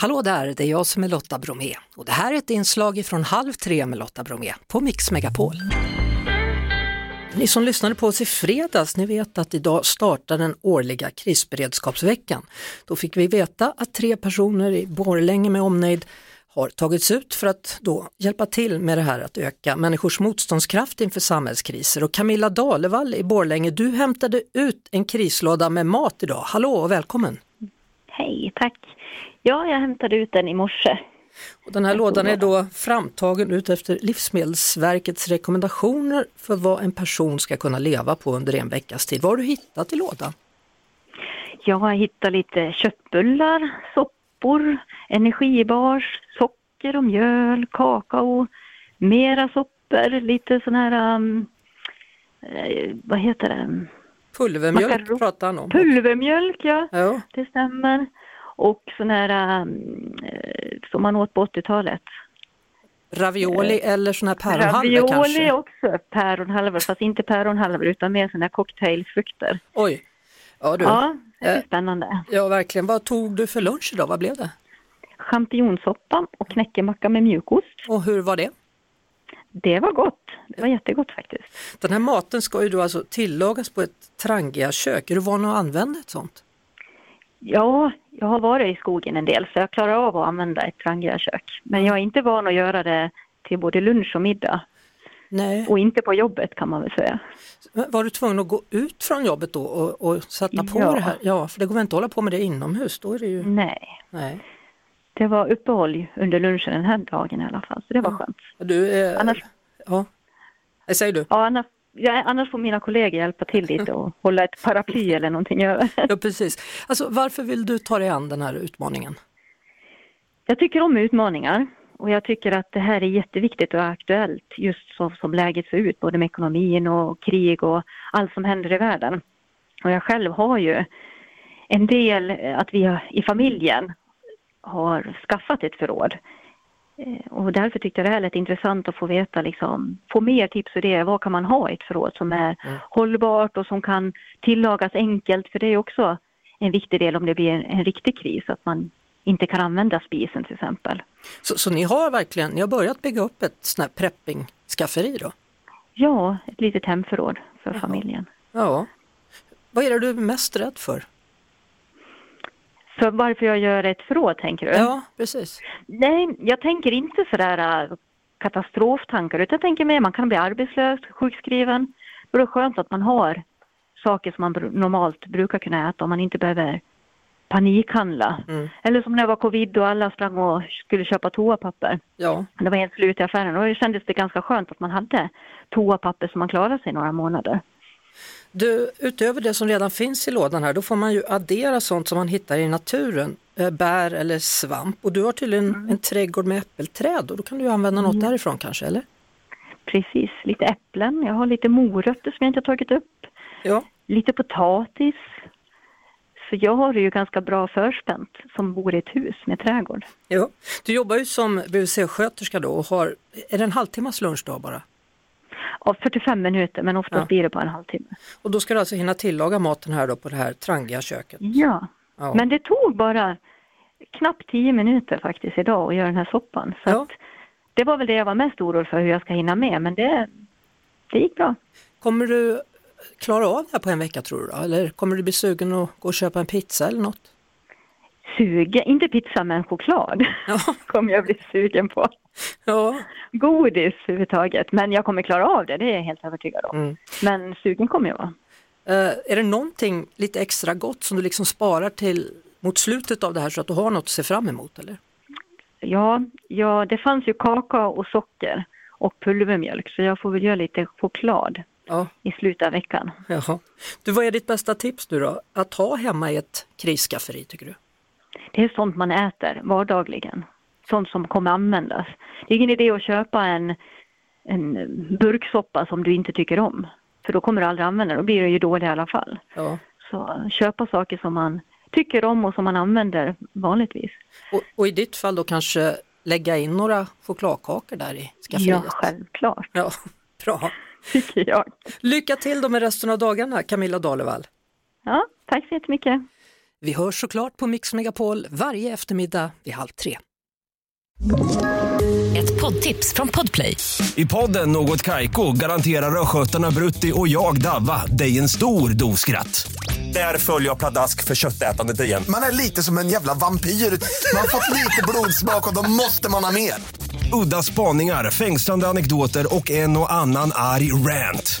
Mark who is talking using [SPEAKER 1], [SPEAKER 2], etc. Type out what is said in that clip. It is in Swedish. [SPEAKER 1] Hallå där, det är jag som är Lotta Bromé och det här är ett inslag från Halv tre med Lotta Bromé på Mix Megapol. Ni som lyssnade på oss i fredags, ni vet att idag startar den årliga krisberedskapsveckan. Då fick vi veta att tre personer i Borlänge med omnejd har tagits ut för att då hjälpa till med det här att öka människors motståndskraft inför samhällskriser. Och Camilla Dalevall i Borlänge, du hämtade ut en krislåda med mat idag. Hallå och välkommen!
[SPEAKER 2] Hej, tack. Ja, jag hämtade ut den i morse.
[SPEAKER 1] Och den här lådan är då framtagen ut efter Livsmedelsverkets rekommendationer för vad en person ska kunna leva på under en veckas tid. Vad har du hittat i lådan?
[SPEAKER 2] Jag har hittat lite köttbullar, soppor, energibars, socker och mjöl, kakao, mera soppor, lite sån här, um, eh, vad heter det?
[SPEAKER 1] Pulvermjölk
[SPEAKER 2] Makaroni.
[SPEAKER 1] pratar han om.
[SPEAKER 2] Pulvermjölk, ja.
[SPEAKER 1] Ja.
[SPEAKER 2] Det stämmer. Och sån här um, eh, som man åt på 80-talet.
[SPEAKER 1] Ravioli eller sån här päronhalva
[SPEAKER 2] Ravioli
[SPEAKER 1] kanske?
[SPEAKER 2] också, päronhalvor, fast inte päronhalvor utan mer såna här cocktailfrukter.
[SPEAKER 1] Oj, ja du. Ja.
[SPEAKER 2] Ja, det är spännande.
[SPEAKER 1] verkligen. Vad tog du för lunch idag? Vad blev det?
[SPEAKER 2] Champinjonsoppa och knäckemacka med mjukost.
[SPEAKER 1] Och hur var det?
[SPEAKER 2] Det var gott. Det var jättegott faktiskt.
[SPEAKER 1] Den här maten ska ju då alltså tillagas på ett trangia kök. Är du van att använda ett sånt?
[SPEAKER 2] Ja, jag har varit i skogen en del så jag klarar av att använda ett trangiakök. Men jag är inte van att göra det till både lunch och middag.
[SPEAKER 1] Nej.
[SPEAKER 2] Och inte på jobbet kan man väl säga.
[SPEAKER 1] Var du tvungen att gå ut från jobbet då och, och sätta på
[SPEAKER 2] Ja. Mm.
[SPEAKER 1] det här? Ja, för det går väl inte att hålla på med det inomhus? Då är det ju...
[SPEAKER 2] Nej,
[SPEAKER 1] Nej.
[SPEAKER 2] det var uppehåll under lunchen den här dagen i alla fall så det var skönt.
[SPEAKER 1] Du, eh,
[SPEAKER 2] Annars-
[SPEAKER 1] Ja. Nej, säger du?
[SPEAKER 2] Ja, annars, ja, annars får mina kollegor hjälpa till lite och hålla ett paraply eller någonting över.
[SPEAKER 1] Ja, precis. Alltså, varför vill du ta dig an den här utmaningen?
[SPEAKER 2] Jag tycker om utmaningar och jag tycker att det här är jätteviktigt och aktuellt just så som läget ser ut, både med ekonomin och krig och allt som händer i världen. Och jag själv har ju en del, eh, att vi har- i familjen har skaffat ett förråd. Eh, Och därför tyckte jag det här lät intressant att få veta, liksom, få mer tips och idéer. Vad kan man ha i ett förråd som är hållbart och som kan tillagas enkelt? För det är också en viktig del om det blir en, en riktig kris, att man inte kan använda spisen till exempel.
[SPEAKER 1] Så, så ni har verkligen ni har börjat bygga upp ett sån här prepping-skafferi då?
[SPEAKER 2] Ja, ett litet hemförråd för familjen.
[SPEAKER 1] Ja. Vad är det du är mest rädd för?
[SPEAKER 2] För varför jag gör ett förråd tänker du?
[SPEAKER 1] Ja, precis.
[SPEAKER 2] Nej, jag tänker inte sådär äh, katastroftankar utan jag tänker mer man kan bli arbetslös, sjukskriven. Då är det skönt att man har saker som man br- normalt brukar kunna äta om man inte behöver panikhandla. Eller som när det var covid och alla sprang och skulle köpa toapapper.
[SPEAKER 1] Ja,
[SPEAKER 2] Det var helt slut i affären och då kändes det ganska skönt att man hade toapapper som man klarade sig några månader.
[SPEAKER 1] Du, utöver det som redan finns i lådan här, då får man ju addera sånt som man hittar i naturen, eh, bär eller svamp. Och du har tydligen en trädgård med äppelträd och då kan du ju använda något därifrån kanske, eller?
[SPEAKER 2] Precis, lite äpplen. Jag har lite morötter som jag inte har tagit upp.
[SPEAKER 1] Ja.
[SPEAKER 2] Lite potatis. Så jag har det ju ganska bra förspänt som bor i ett hus med trädgård.
[SPEAKER 1] ja. Du jobbar ju som BVC-sköterska då och har, är det en halvtimmas lunch då bara?
[SPEAKER 2] Ja, 45 minuter, men oftast
[SPEAKER 1] Ja.
[SPEAKER 2] blir det bara en halvtimme.
[SPEAKER 1] Och då ska du alltså hinna tillaga maten här då på det här trangiga köket?
[SPEAKER 2] Ja.
[SPEAKER 1] Ja.
[SPEAKER 2] men det tog bara knappt 10 minuter faktiskt idag att göra den här soppan. Så
[SPEAKER 1] Ja.
[SPEAKER 2] att det var väl det jag var mest orolig för, hur jag ska hinna med, men det, det gick bra.
[SPEAKER 1] Kommer du klara av det här på en vecka tror du då? Eller kommer du bli sugen att gå och köpa en pizza eller något?
[SPEAKER 2] Suge, inte pizza, men choklad
[SPEAKER 1] Ja,
[SPEAKER 2] kommer jag bli sugen på.
[SPEAKER 1] ja.
[SPEAKER 2] godis överhuvudtaget. Men jag kommer klara av det, det är jag helt övertygad om.
[SPEAKER 1] Mm.
[SPEAKER 2] Men sugen kommer jag vara.
[SPEAKER 1] Eh, är det någonting lite extra gott som du liksom sparar till mot slutet av det här så att du har något att se fram emot eller?
[SPEAKER 2] Ja, ja, det fanns ju kakao och socker och pulvermjölk så jag får väl göra lite choklad
[SPEAKER 1] Ja,
[SPEAKER 2] i slutet av veckan.
[SPEAKER 1] jaha. Du, vad är ditt bästa tips nu då? Att ha hemma i ett krisskafferi tycker du?
[SPEAKER 2] Det är sånt man äter vardagligen. Sånt som kommer användas. Det är ingen idé att köpa en, en burksoppa som du inte tycker om. För då kommer du aldrig använda den, då blir det ju dålig i alla fall.
[SPEAKER 1] Ja.
[SPEAKER 2] Så köpa saker som man tycker om och som man använder vanligtvis.
[SPEAKER 1] Och, och i ditt fall då kanske lägga in några chokladkakor där i
[SPEAKER 2] Ja,
[SPEAKER 1] skafferiet?
[SPEAKER 2] självklart,
[SPEAKER 1] Ja, bra.
[SPEAKER 2] tycker jag.
[SPEAKER 1] Lycka till då med resten av dagarna Camilla Dalevall.
[SPEAKER 2] Ja, tack så jättemycket.
[SPEAKER 1] Vi hörs såklart på Mix Megapol varje eftermiddag vid halv tre.
[SPEAKER 3] Ett poddtips från Podplay.
[SPEAKER 4] I podden Något Kaiko garanterar östgötarna Brutti och jag, Davva, dig en stor dos skratt. Där följer jag pladask för köttätandet igen.
[SPEAKER 5] Man är lite som en jävla vampyr. Man har fått lite blodsmak och då måste man ha mer.
[SPEAKER 4] Udda spaningar, fängslande anekdoter och en och annan arg rant.